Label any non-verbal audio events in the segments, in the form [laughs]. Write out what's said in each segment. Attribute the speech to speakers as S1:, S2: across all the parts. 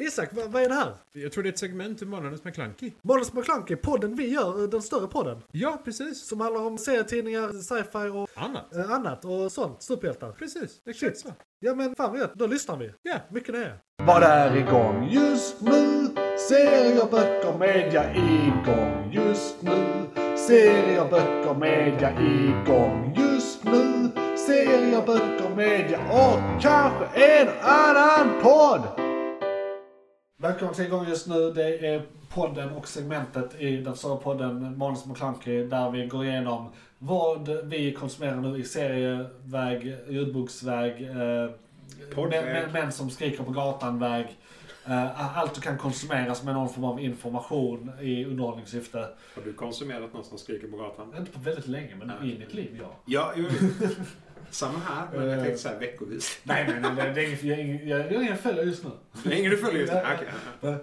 S1: Isak, vad, vad är det här?
S2: Jag tror det är ett segment ur Månadens McKlunky.
S1: Månadens McKlunky, podden vi gör, eh, den större podden.
S2: Ja, precis.
S1: Som handlar om serietidningar, sci-fi och
S2: Annat.
S1: eh, annat och sånt. Superhjältar.
S2: Precis, exakt
S1: Shit.
S2: så.
S1: Ja men fan vad gött, då lyssnar vi.
S2: Ja,
S1: Mycket nöje.
S3: Vad är igång just nu? Serier, böcker, media igång just nu. Serier, böcker, media igång just nu. Serier, böcker, media och kanske en annan podd! Välkommen till igång just nu. Det är podden och segmentet i den stora podden Manus McClunky där vi går igenom vad vi konsumerar nu i serieväg, ljudboksväg, eh,
S2: Poddväg.
S3: män, män- män som skriker på gatan-väg. Eh, allt du kan konsumeras med någon form av information i underhållningssyfte.
S2: Har du konsumerat någon som skriker på gatan?
S3: Inte på väldigt länge, men
S2: Nej.
S3: i mitt liv, ja.
S2: Ja, jo. [laughs] Samma här, men jag tänkte såhär veckovis.
S3: Nej, nej, nej, det- det är inget, jag, är ingen- jag, jag är ingen fälla just nu.
S2: Det är ingen du följer just nu?
S3: Ja.
S2: Okej.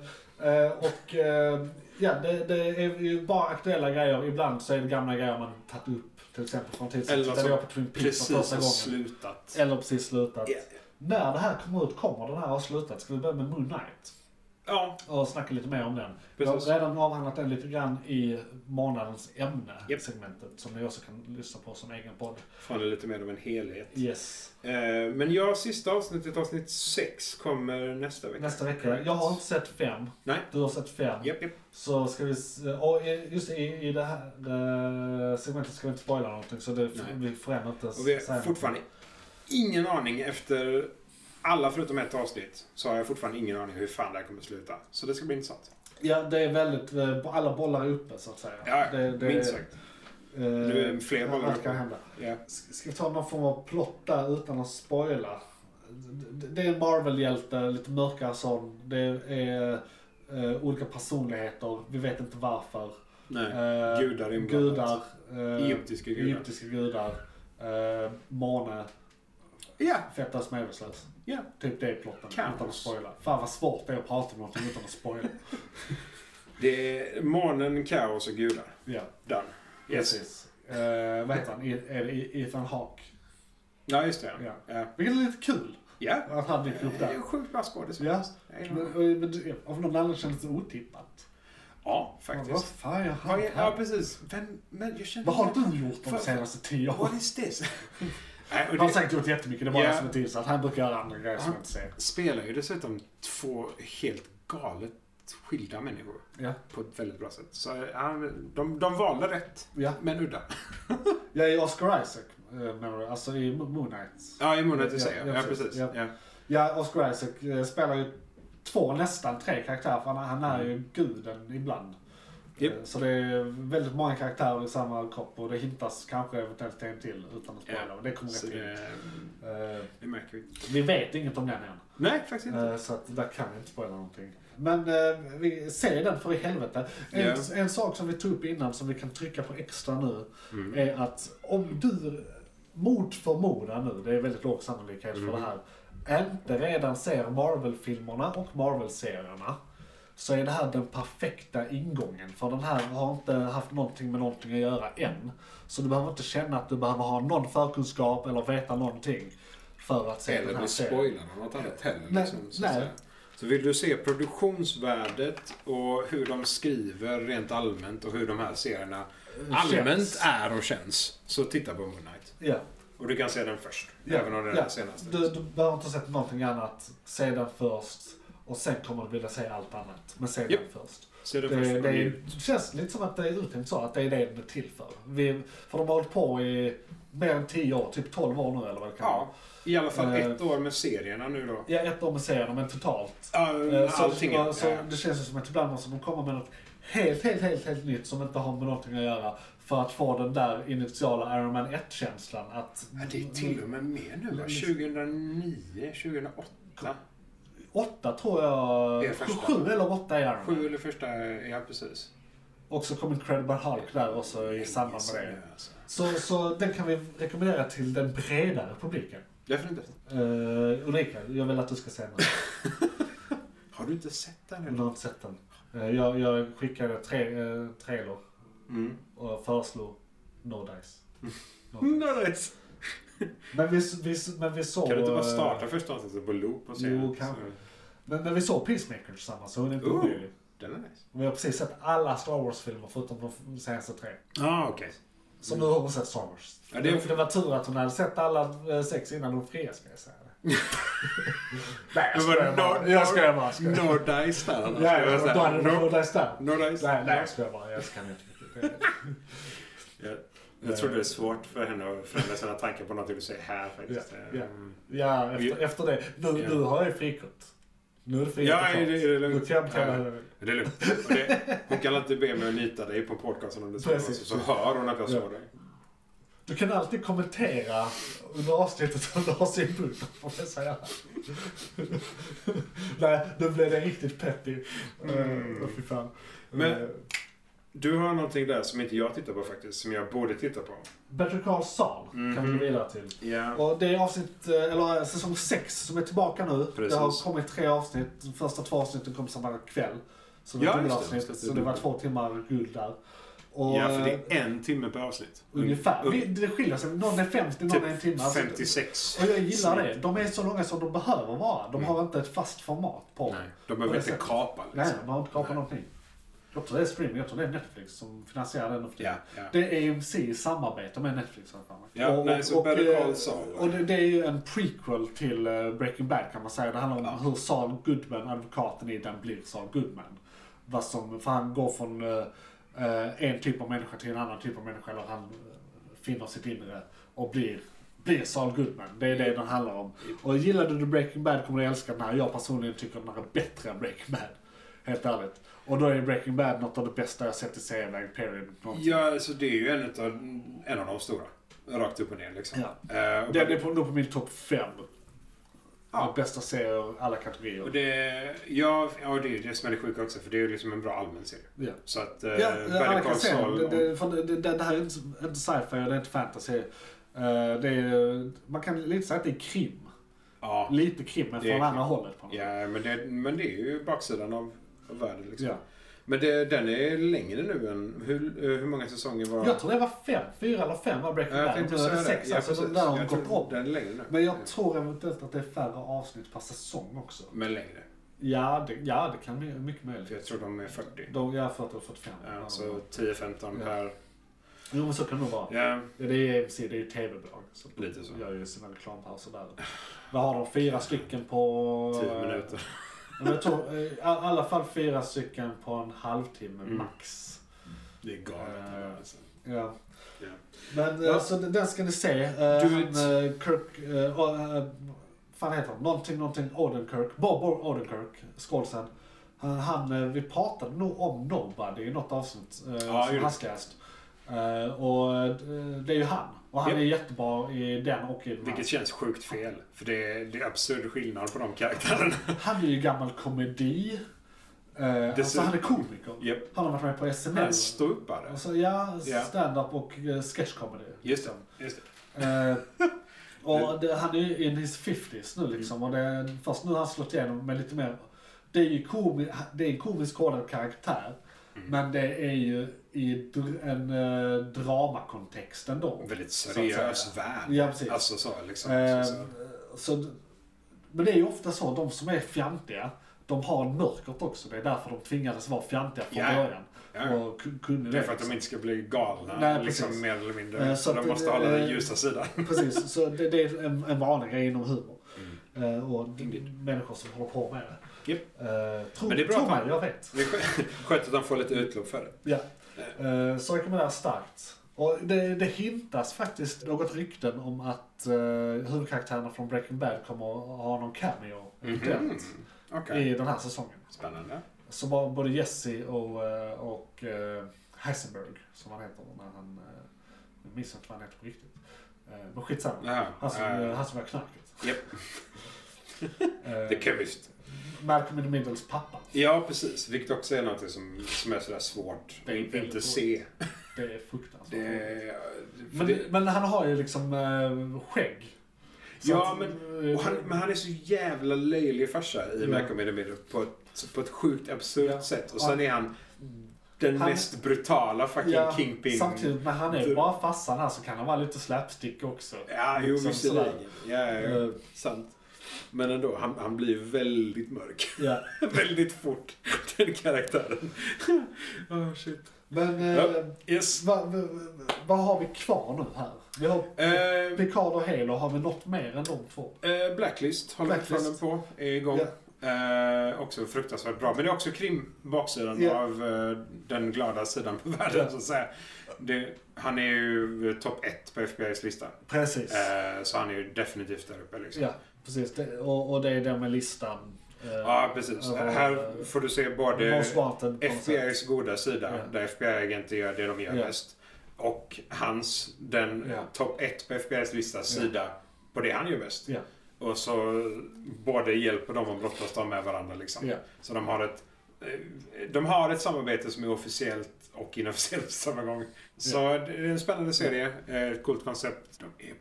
S3: Eh, och eh, ja, det, det är ju bara aktuella grejer. Ibland så är det gamla grejer man tagit upp. Till exempel från tid till
S2: Eller
S3: tittade
S2: som
S3: jag på Twin Peaks för
S2: Precis
S3: första
S2: har
S3: gången.
S2: slutat.
S3: Eller precis slutat.
S2: Ja.
S3: När det här kommer ut, kommer den här ha slutat? Ska vi börja med Moon Knight?
S2: Ja,
S3: Och snacka lite mer om den. Vi har
S2: precis.
S3: redan avhandlat den lite grann i månadens
S2: Japp.
S3: ämne-segmentet. Som ni också kan lyssna på som egen podd.
S2: Fan, det är lite mer av en helhet.
S3: Yes.
S2: Eh, Men ja, sista avsnittet, avsnitt 6, kommer nästa vecka.
S3: Nästa vecka. Jag har inte sett fem.
S2: Nej.
S3: Du har sett fem.
S2: Japp, japp.
S3: Så ska vi, s- och i- just i, i det här eh, segmentet ska vi inte spoila någonting så det,
S2: Nej.
S3: vi får ändå inte
S2: Och vi har
S3: säga
S2: fortfarande ingen aning efter alla förutom ett avsnitt så har jag fortfarande ingen aning hur fan det här kommer sluta. Så det ska bli intressant.
S3: någonting. Ja, det är väldigt, eh, alla bollar är uppe så att säga.
S2: Ja,
S3: det, det,
S2: minst sagt.
S3: eh,
S2: Nu är det fler bollar
S3: Allt
S2: uppe.
S3: kan hända.
S2: Ja.
S3: S- Ska vi ta någon form av plott där utan att spoila? Det, det är en Marvel-hjälte, lite mörkare sån. Det är eh, olika personligheter, vi vet inte varför.
S2: Nej.
S3: Eh,
S2: Gudar inblandat.
S3: gudar. eh,
S2: Egyptiska gudar.
S3: Egyptiska gudar. Eh, måne.
S2: Ja,
S3: Fettas medvetslös.
S2: ja.
S3: Typ det är plotten.
S2: Kaos.
S3: Utan att spoila. Fan vad svårt det är att prata om någonting utan att
S2: [laughs]
S3: spoila.
S2: Det är månen, kaos och gudar.
S3: Ja,
S2: Done. Yes.
S3: precis. Eh, vad heter han? I, är det Ethan Hawke?
S2: Ja, just det. Ja.
S3: Ja.
S2: Ja.
S3: Vilket är lite kul
S2: ja.
S3: att han dyker upp
S2: Det är
S3: där.
S2: en Sjukt bra skådis.
S3: Ja.
S2: Jag är-
S3: Men, men, det- av någon anledning kändes det otippat.
S2: Ja,
S3: Man, Vad
S2: faktiskt.
S3: fan gör
S2: Ja,
S3: han
S2: ja, ja,
S3: här?
S2: precis. Vem, men jag känner
S3: Vad har du gjort de
S2: Vad-
S3: senaste tio
S2: What
S3: åren?
S2: is
S3: [laughs]
S2: this? Nej, och
S3: Han har
S2: det
S3: säkert gjort jättemycket, det var
S2: Ja.
S3: jag som är tillsatt. Han brukar göra andra grejer som
S2: Han-
S3: jag inte ser.
S2: spelar ju dessutom två helt galet skilda människor
S3: Ja.
S2: på ett väldigt bra sätt. Så ja, de, de valde rätt,
S3: Ja.
S2: men udda.
S3: Jag är Oscar Isaac, eh, menar du? Alltså i Mo- Moon Knight.
S2: Ja, i mån att du
S3: Ja,
S2: säger.
S3: ja,
S2: Ja,
S3: precis.
S2: precis.
S3: Ja.
S2: Ja.
S3: Ja, Oscar Isaac eh, spelar ju två, nästan tre karaktärer. För han, han är ju guden ibland.
S2: Mm. Japp.
S3: Eh, Så det är väldigt många karaktärer i samma kropp och det hintas kanske eventuellt en till utan att spoila.
S2: Ja.
S3: Men det kommer rätt
S2: Så
S3: in.
S2: det,
S3: Eh,
S2: det märker vi.
S3: Vi vet inget om den än.
S2: Nej, faktiskt inte.
S3: Eh, Så att där kan vi inte spoila någonting. Men eh, vi ser den för i helvete. En,
S2: Ja.
S3: en sak som vi tog upp innan som vi kan trycka på extra nu
S2: Mm.
S3: är att om du mot förmodan nu, det är väldigt låg sannolikhet för det
S2: Mm.
S3: här, inte redan ser Marvel-filmerna och Marvel-serierna så är det här den perfekta ingången. För den här har inte haft någonting med någonting att göra än. Så du behöver inte känna att du behöver ha någon förkunskap eller veta någonting för att se den
S2: Eller
S3: här
S2: du
S3: serien.
S2: spoilar något annat heller.
S3: Nej,
S2: Liksom, så, att
S3: nej.
S2: säga. så vill du se produktionsvärdet och hur de skriver rent allmänt och hur de här serierna allmänt
S3: Eh, Känns.
S2: är och känns. Så titta på Moon Knight.
S3: Ja.
S2: Och du kan se den först.
S3: Ja,
S2: Även om den är
S3: ja.
S2: den senaste.
S3: Du, du behöver inte ha sett någonting annat. Se den först. Och sen kommer du vilja se allt annat. Men se
S2: Japp.
S3: den först.
S2: Se
S3: Det,
S2: den först
S3: det,
S2: och njut.
S3: det känns lite som att det är uttänkt så, att det är det den är till för. Vi, för de har hållit på i mer än 10 år, typ 12 år nu eller vad det kan vara.
S2: Ja, i alla fall
S3: Eh.
S2: ett år med serierna nu då.
S3: Ja, ett år med serien, men totalt.
S2: Uh,
S3: Eh, Så,
S2: allting.
S3: så, så
S2: ja.
S3: det känns ju som att ibland måste de komma med något helt, helt, helt, helt nytt som inte har med någonting att göra. För att få den där initiala Iron Man 1-känslan att...
S2: Ja, det är till och med mer nu
S3: Mm.
S2: va? 2009, 2008?
S3: Åtta tror
S2: Det är
S3: jag...
S2: första.
S3: Sju eller åtta är
S2: Sju
S3: de.
S2: eller första, ja precis.
S3: Och så kom Incredible Hulk där också i samband med det.
S2: Alltså.
S3: Så, så den kan vi rekommendera till den bredare publiken.
S2: Definitivt.
S3: Uh, Ulrika, jag vill att du ska se den.
S2: Har du inte sett den
S3: Jag
S2: eller?
S3: har inte sett den. Eh, jag, jag skickade tre, uh, trailer
S2: Mm.
S3: och föreslog No Dice. No Dice.
S2: Nice.
S3: Men, vi, vi, men vi såg...
S2: Kan du inte bara
S3: eh,
S2: starta första avsnittet på loop och se?
S3: Jo,
S2: den?
S3: kanske. Men, men vi såg Peacemaker tillsammans, så hon är inte
S2: Oh.
S3: omöjlig.
S2: Den är nice.
S3: Och Vi har precis sett alla Star Wars-filmer förutom de f- senaste tre.
S2: Ja, ah, okej.
S3: Så nu har hon sett Star Wars.
S2: Ja, det
S3: det,
S2: är-
S3: det var tur att hon hade sett alla eh, sex innan hon friade, ska
S2: [laughs]
S3: jag säga. Nej, jag
S2: Men var det
S3: skojar bara.
S2: no-
S3: Jag skojar bara. jag skojar.
S2: No dice där annars.
S3: Ja,
S2: Det
S3: ja,
S2: var
S3: då
S2: så här,
S3: hade
S2: no-
S3: du fått nästa.
S2: No dice.
S3: Nej, nej, jag skojar bara. Jag kan inte riktigt.
S2: Jag, jag tror det är svårt för henne att förändra sina tankar på någonting du säger här faktiskt.
S3: Ja,
S2: Mm.
S3: ja. Ja, efter, efter det. Nu,
S2: Ja.
S3: nu har jag ju frikort. Nu är det frikort.
S2: Ja, är det- är det lugnt?
S3: Nu kan jag betala.
S2: Det är lugnt. Och Det, hon kan alltid be mig att nita dig på podcasten om det skulle vara så.
S3: Precis.
S2: Så hör hon att jag
S3: Ja.
S2: såg dig.
S3: Du kan alltid kommentera under avsnittet om du har synpunkter på det,
S2: [laughs]
S3: säger jag. Nej, nu blev det riktigt peppig. Mm.
S2: Mm.
S3: fy fan.
S2: Men-
S3: Eh,
S2: Du har någonting där som inte jag tittar på faktiskt, som jag borde titta på.
S3: Better Call Saul kan vi gå
S2: Mhm.
S3: vidare till.
S2: Ja.
S3: Och det är avsnitt, eh, eller eh, säsong 6 som är tillbaka nu.
S2: Precis.
S3: Det har kommit tre avsnitt. De första två avsnitten kom samma kväll. Så det,
S2: Ja,
S3: var
S2: just det.
S3: avsnitt,
S2: Ska
S3: så det var två timmar guld där. Och,
S2: ja, för det
S3: eh,
S2: är en timme per avsnitt.
S3: Ungefär.
S2: Un-
S3: Vi- Det skiljer sig. Någon är 50,
S2: Typ
S3: någon är en timme. Alltså,
S2: 56.
S3: Och jag gillar det. De är så långa som de behöver vara. De har inte ett fast format på dem.
S2: Mm. Nej, de behöver
S3: det
S2: inte
S3: sättet.
S2: kapa
S3: Nej,
S2: liksom.
S3: de har inte kapat
S2: Nej.
S3: någonting. Jag tror det är streaming, jag tror det är Netflix som finansierar den.
S2: Ja, ja.
S3: Det är AMC i samarbete med Netflix. har jag för mig.
S2: Ja, nej, så Better
S3: eh,
S2: Call Saul.
S3: och det, det är ju en prequel till eh, Breaking Bad kan man säga. Det handlar om hur Saul Goodman, advokaten i den, blir Saul Goodman. Vad som, för han går från eh, eh, en typ av människa till en annan typ av människa. Eller han eh, finner sitt inre och blir, blir Saul Goodman. Det är det den handlar om. Och gillade du Breaking Bad kommer du älska den här. Jag personligen tycker den här är bättre än Breaking Bad. Helt ärligt. Och då är Breaking Bad något av det bästa jag sett i serieväg, period. någonsin.
S2: Ja, alltså det är ju en, utav, en av de stora. Rakt upp och ner liksom.
S3: Ja.
S2: Eh, och
S3: Den är på, nog på min topp 5.
S2: Ja.
S3: Bästa serier, alla kategorier.
S2: Och det, ja, ja, det är ju det som är det sjuka också, för det är ju liksom en bra allmän serie.
S3: ja.
S2: Så att... eh,
S3: Ja,
S2: Better
S3: alla
S2: Call
S3: kan se den.
S2: Saul
S3: Det,
S2: och-
S3: det, för det, det, det här är inte, inte sci-fi, det är inte fantasy. Eh, det är, man kan lite säga att det är krim.
S2: ja,
S3: Lite krim, men
S2: Det är
S3: från
S2: krim.
S3: andra hållet. På något.
S2: ja men, det, men det är ju baksidan av, av världen liksom.
S3: Ja.
S2: Men det, den är längre nu än... Hur, eh, hur många säsonger var...
S3: Jag tror det var fem, fyra eller fem var Breaking Bad. Nu är det sex, alltså de där har
S2: Jag
S3: gått
S2: tror
S3: om.
S2: den är längre nu.
S3: Men jag
S2: Ja.
S3: tror eventuellt att det är färre avsnitt per säsong också.
S2: Men längre.
S3: Ja, det, ja, det kan bli mycket
S2: För
S3: möjligt.
S2: jag tror de är 40.
S3: De, jag har 40 och 45.
S2: Ja, så 10-15
S3: Ja.
S2: per...
S3: Jo, men så kan det nog vara.
S2: Ja.
S3: Ja, det är AMC, det är ju tv-bolag. Så de
S2: Lite så.
S3: gör ju sina reklampauser där. Vad har de? Fyra stycken på...
S2: 10 minuter.
S3: Ja, men Jag tror, eh, i alla fall fyra stycken på en halvtimme
S2: Mm.
S3: max.
S2: Det alltså. är
S3: Eh,
S2: galet.
S3: Ja.
S2: Ja.
S3: Men
S2: Ja.
S3: ja. så den den ska ni se. Eh,
S2: Do
S3: han,
S2: it.
S3: eh, Kirk... eh, och, eh, fan heter han? Någonting, någonting Odenkirk. Bob Odenkirk, skådisen. Han, han, eh, vi pratade nog om Nobody i något avsnitt eh,
S2: Ja,
S3: som
S2: just.
S3: hastigast. Eh, och eh, det är ju han. Och han
S2: Ja.
S3: är jättebra i den och i den här.
S2: Vilket känns sjukt fel. För det är, det är absurd skillnad på de karaktärerna.
S3: Han är ju gammal komedi. Eh, alltså
S2: Dessutom-
S3: han är komiker.
S2: [laughs] Japp.
S3: Han har varit med på SNL.
S2: Men ståuppare.
S3: Alltså, ja,
S2: Ja.
S3: stand-up och eh, sketch comedy.
S2: Just det. Just det.
S3: Eh, och det, han är ju in his 50s nu
S2: Mm.
S3: liksom. Och det, är- först nu har han slått igenom med lite mer... Det är ju komi, det är en komisk kodad karaktär.
S2: Mm.
S3: Men det är ju i dr, en eh, dramakontext ändå.
S2: En väldigt
S3: att säga.
S2: seriös värld.
S3: Ja, precis.
S2: Alltså så liksom.
S3: Eh,
S2: så, så.
S3: så, d- men det är ju ofta så, de som är fjantiga, de har mörkret också. Det är därför de tvingades vara fjantiga från
S2: Ja.
S3: början.
S2: Ja.
S3: Och kun- kunde
S2: Det är för att
S3: liksom.
S2: de inte ska bli galna.
S3: Nej, precis.
S2: liksom, mer eller mindre.
S3: Eh, så
S2: så
S3: att
S2: de
S3: det-
S2: måste hålla den
S3: eh, [laughs]
S2: ljusa sidan.
S3: Precis, så det, det är en, en vanlig grej inom humor. Eh, och d- människor som håller på med det.
S2: Mm. Japp.
S3: Eh, tro,
S2: Men det är bra
S3: tro
S2: att han-
S3: mig, jag vet.
S2: Det är skö- skönt att de får lite utlopp för det.
S3: Ja. Eh, så rekommenderar starkt. Och det, det hintas faktiskt något rykten om att eh, huvudkaraktärerna från Breaking Bad kommer att ha någon cameo eventuellt
S2: Mhm. Mm. Okej.
S3: Mm. i den här säsongen.
S2: Spännande.
S3: Så var både Jesse och, eh, och eh, Heisenberg, som han heter när han... eh, Jag minns inte vad han heter på riktigt. Eh, Men skitsamma.
S2: Jaha.
S3: Han som,
S2: eh,
S3: eh, han som var knarket.
S2: Japp.
S3: [laughs] Eh,
S2: The Chemist.
S3: Malcolm in the Middles pappa.
S2: Ja, precis. Vilket också är något som, som är sådär svårt
S3: Det är
S2: att inte
S3: väldigt
S2: se.
S3: Det är fruktansvärt.
S2: Det, är- för
S3: men,
S2: det,
S3: men han har ju liksom eh, skägg. Så
S2: ja,
S3: att,
S2: men,
S3: eh,
S2: och han, men han är så jävla löjlig farsa i
S3: Ja.
S2: Malcolm in the Middle på ett, på ett sjukt absurt
S3: Mm. Ja.
S2: sätt. Och
S3: Ja.
S2: sen är han den
S3: Han-
S2: mest brutala fucking
S3: ja,
S2: kingpin.
S3: Samtidigt, men han är ju
S2: Du-
S3: bara farsan här så kan han vara lite slapstick också.
S2: Ja, jo,
S3: Liksom
S2: visserligen. Ja, ja, ja.
S3: Eh,
S2: Sant. Men ändå, han, han blir ju väldigt mörk. [laughs]
S3: Ja.
S2: väldigt fort, den karaktären. oh, shit.
S3: Men eh,
S2: Ja, yes.
S3: vad vad- vad har vi kvar nu här? Vi har
S2: Eh,
S3: Picard och Halo, har vi något mer än de två?
S2: Eh, Blacklist håller
S3: Blacklist.
S2: fortfarande på. Är igång.
S3: Ja.
S2: Eh, också fruktansvärt bra. Men det är också krim baksidan
S3: Ja.
S2: av eh, den glada sidan på [laughs] världen
S3: Ja.
S2: så att säga. Det, han är ju topp ett på FBI's lista.
S3: Precis.
S2: Eh, så han är ju definitivt där uppe liksom.
S3: Ja, precis. Det, och, och det är den med listan. eh,
S2: Ja, precis.
S3: över,
S2: Här får du se
S3: eh,
S2: både
S3: Most Wanted på något sätt.
S2: FBI's goda sida,
S3: Ja.
S2: där FBI-agenter gör det de gör
S3: Ja.
S2: bäst. Och hans, den
S3: Ja.
S2: topp ett på FBI's lista, sida på det han gör bäst.
S3: Ja,
S2: Och så både hjälper de och brottas de med varandra liksom.
S3: ja,
S2: Så de har ett eh, de har ett samarbete som är officiellt och inofficiellt på samma gång. Så det är en spännande serie, eh, ett coolt koncept. De är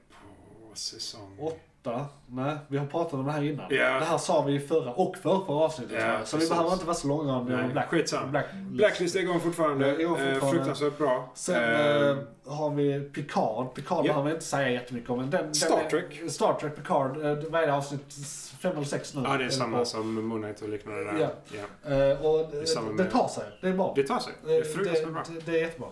S2: på säsong...
S3: åtta. Nej, vi har pratat om det här innan.
S2: Ja.
S3: Det här sa vi i förra och förra, förra avsnittet.
S2: Ja,
S3: tror jag. så vi
S2: precis.
S3: behöver inte vara så långa om det.
S2: Nej,
S3: om Black,
S2: skitsamma.
S3: Black,
S2: Blacklist är igång fortfarande.
S3: Ja, igång
S2: Eh,
S3: fortfarande.
S2: fruktansvärt bra.
S3: Sen
S2: Eh,
S3: eh, har vi Picard. Picard
S2: ja.
S3: behöver vi inte säga jättemycket om. Men den, den
S2: Star
S3: är,
S2: Trek.
S3: Star Trek Picard. eh, Vad är det? Avsnitt fem eller sex nu?
S2: ja, det är
S3: Eller
S2: samma
S3: på.
S2: som Moon Knight och liknande. Där.
S3: Ja.
S2: Ja.
S3: Eh, och
S2: är samma
S3: det, det
S2: med-
S3: tar sig. Det är bra.
S2: Det tar sig. Det är fruktansvärt bra.
S3: Eh, det, det är jättebra.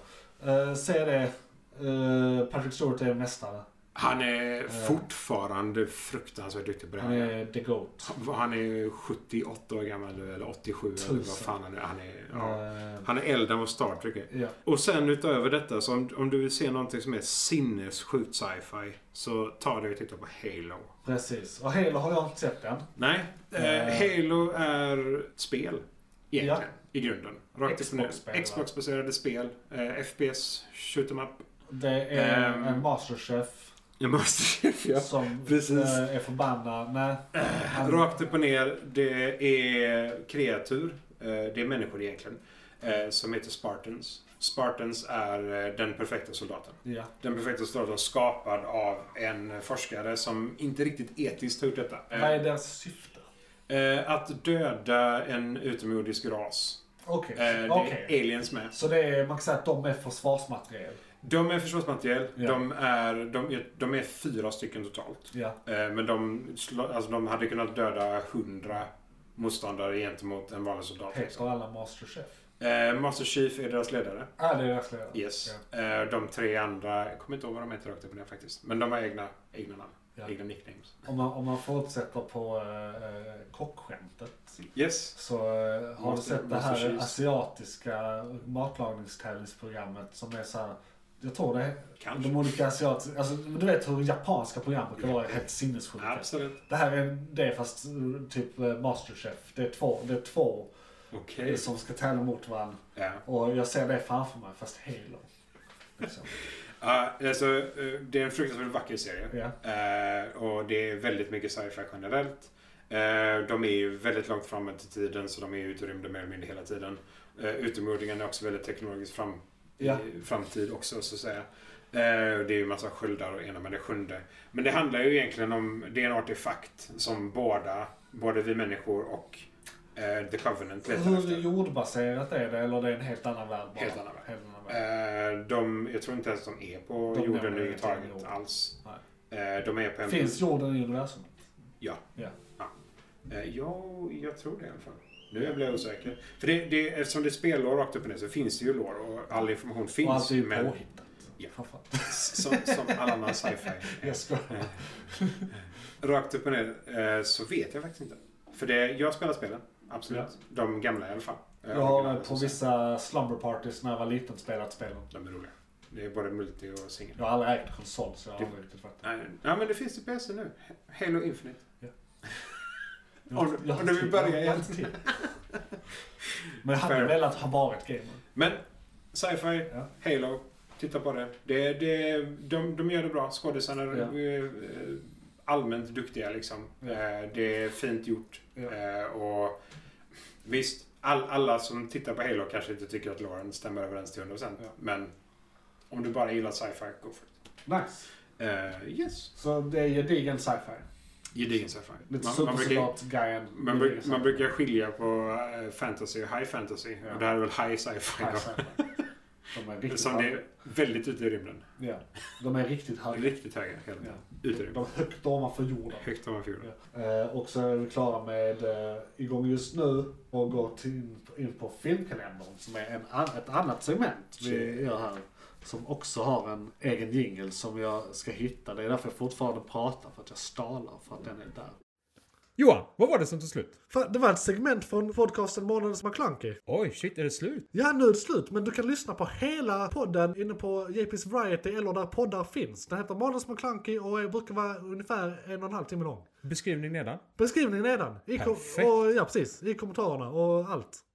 S3: Uh, se det. Eh, Patrick Stewart är mästare.
S2: Han är
S3: Eh.
S2: fortfarande fruktansvärt duktig på det
S3: Han
S2: här.
S3: är the GOAT.
S2: Han är 78 år gammal nu, eller 87 eller vad
S3: Tusen.
S2: fan han är. Han är, ja.
S3: Eh,
S2: han är äldre än vad Star Trek är.
S3: ja.
S2: Och sen utöver detta, så om, om du vill se någonting som är sinnessjukt sci-fi så ta dig och titta på Halo.
S3: Precis. Och Halo har jag inte sett än.
S2: Nej, eh,
S3: Eh.
S2: Halo är ett spel. Egentligen,
S3: Ja.
S2: i grunden. Rakt upp och
S3: Xbox-spel, va?
S2: ner. Xbox-baserade spel. Eh, FPS, shoot 'em up.
S3: Det är
S2: Ehm.
S3: en masterchef
S2: Jag måste ja.
S3: som
S2: precis.
S3: eh, är förbannad. Nej. Han-
S2: Eh, Rakt upp och ner. Det är kreatur. Eh, det är människor egentligen. Eh, som heter Spartans. Spartans är eh, den perfekta soldaten.
S3: Ja.
S2: Den perfekta staten skapad av en forskare som inte riktigt etiskt har gjort detta.
S3: Vad är deras syfte?
S2: Eh, Att döda en utomjordisk ras.
S3: Okej.
S2: Eh, Det
S3: Okej.
S2: är aliens med.
S3: Så det är, man kan säga att de är försvarsmateriel.
S2: De är försvarsmateriel.
S3: Ja.
S2: De, är, de, är, de är fyra stycken totalt.
S3: Ja.
S2: Eh, Men de, slå- alltså de hade kunnat döda hundra motståndare gentemot en vanlig soldat. liksom.
S3: Heter alla masterchef?
S2: Eh, Master Chief är deras ledare.
S3: Ja, ah, det är deras ledare.
S2: Yes. Eh, De tre andra, jag kommer inte ihåg vad de heter rakt upp och ner faktiskt. Men de har egna, egna namn.
S3: Ja.
S2: Egna nicknames.
S3: Om, man, om man fortsätter på äh, kockskämtet.
S2: Yes.
S3: Så eh, har du
S2: Måste-
S3: sett det här
S2: måste kyss.
S3: asiatiska matlagningstävlingsprogrammet som är så här. Jag tror det är
S2: Kanske.
S3: de olika asiatiska, alltså du vet hur japanska program kan
S2: Ja.
S3: vara helt sinnessjuka.
S2: Absolut.
S3: Det här är det fast eh, typ eh, Masterchef. Det är två, det är två
S2: Okej.
S3: som ska tävla mot varandra.
S2: Ja.
S3: Och jag ser det framför mig fast Halo. Liksom.
S2: Ja, alltså, eh, det är en fruktansvärt vacker serie.
S3: Ja.
S2: Eh, och det är väldigt mycket sci-fi generellt. Eh, de är ju väldigt långt framme till tiden så de är ju ute i rymden mer eller mindre hela tiden. Uh, Utomjordingarna är också väldigt teknologiskt fram,
S3: Ja.
S2: i framtid också så att säga. Eh, och det är ju en massa sköldar och ena med det sjunde. Men det handlar ju egentligen om, det är en artefakt som båda, både vi människor och eh, The Covenant letar
S3: Hur
S2: efter.
S3: jordbaserat är det eller det är en helt annan värld bara?
S2: Helt annan värld.
S3: Helt annan värld.
S2: Eh, de, jag tror inte ens de är på
S3: De nämner
S2: jorden
S3: ingenting om
S2: överhuvudtaget
S3: jorden.
S2: alls. Eh, de är på en...
S3: Finns jorden i universumet?
S2: Eh, ja, jag tror det i alla fall. Nu blir jag osäker. För det, det, eftersom det är spellår rakt upp och ner så finns det ju lår och all information finns.
S3: och allt är ju
S2: men
S3: påhittat.
S2: Ja.
S3: För fan.
S2: [laughs] som, som all annan sci-fi. är.
S3: Jag skojar.
S2: Rakt upp och ner eh, så vet jag faktiskt inte. För det, jag spelar spelen. Absolut. De gamla i alla fall. Eh,
S3: Jag har
S2: originalet,
S3: på
S2: så att säga.
S3: vissa slumber parties när jag var liten spelat spelen.
S2: De är roliga. Det är både multi och singel.
S3: Jag har aldrig ägt konsol så jag har
S2: Det-
S3: aldrig riktigt fattat.
S2: Nej, nej, men det finns till PC nu. Halo Infinite.
S3: Jag har- typ-
S2: Om-
S3: jag har
S2: om du vill
S3: tid.
S2: börja
S3: Jag har
S2: igen.
S3: tid. [laughs] Men jag hade
S2: Fair.
S3: velat ha varit gamer.
S2: Men sci-fi,
S3: Ja.
S2: Halo, titta på det. det, det de, de gör det bra. Skådisarna är
S3: Ja.
S2: eh, allmänt duktiga liksom.
S3: Ja.
S2: Eh, Det är fint gjort.
S3: Ja.
S2: Eh, Och visst, all, alla som tittar på Halo kanske inte tycker att Lauren stämmer överens till 100%.
S3: Ja.
S2: Men om du bara gillar sci-fi, go for it.
S3: Nice.
S2: Eh, yes.
S3: Så det är gedigen sci-fi.
S2: Gedigen sci-fi.
S3: Lite
S2: Man, man, brukar,
S3: supersoldat-guyen.
S2: man, bruk, man brukar skilja på eh, fantasy och high fantasy.
S3: Ja.
S2: Och det här är väl high sci-fi. då.
S3: Nice sci-fi. De är riktigt
S2: Som [laughs] det är väldigt ute i rymden.
S3: Ja, de är riktigt
S2: [laughs]
S3: höga.
S2: Riktigt höga. hela tiden.
S3: Ja.
S2: Ute i rymden.
S3: De är högt ovanför jorden.
S2: Högt ovanför jorden.
S3: Eh, och så är vi klara med eh, igång just nu och går till, in på filmkalendern som är en, an- ett annat segment vi gör här. Som också har en egen jingle som jag ska hitta. Det är därför jag fortfarande pratar, för att jag stalar för att den är där.
S4: Johan, vad var det som tog slut?
S1: Fan, det var ett segment från podcasten Månadens McKlunky.
S4: Oj, shit, är det slut?
S1: Ja, nu är det slut, men du kan lyssna på hela podden inne på JP's Variety eller där poddar finns. Den heter Månadens McKlunky och är- brukar vara ungefär en och en halv timme lång.
S4: Beskrivning nedan.
S1: Beskrivningen nedan. I kom-
S4: Perfekt.
S1: och, ja, precis. I kommentarerna och allt.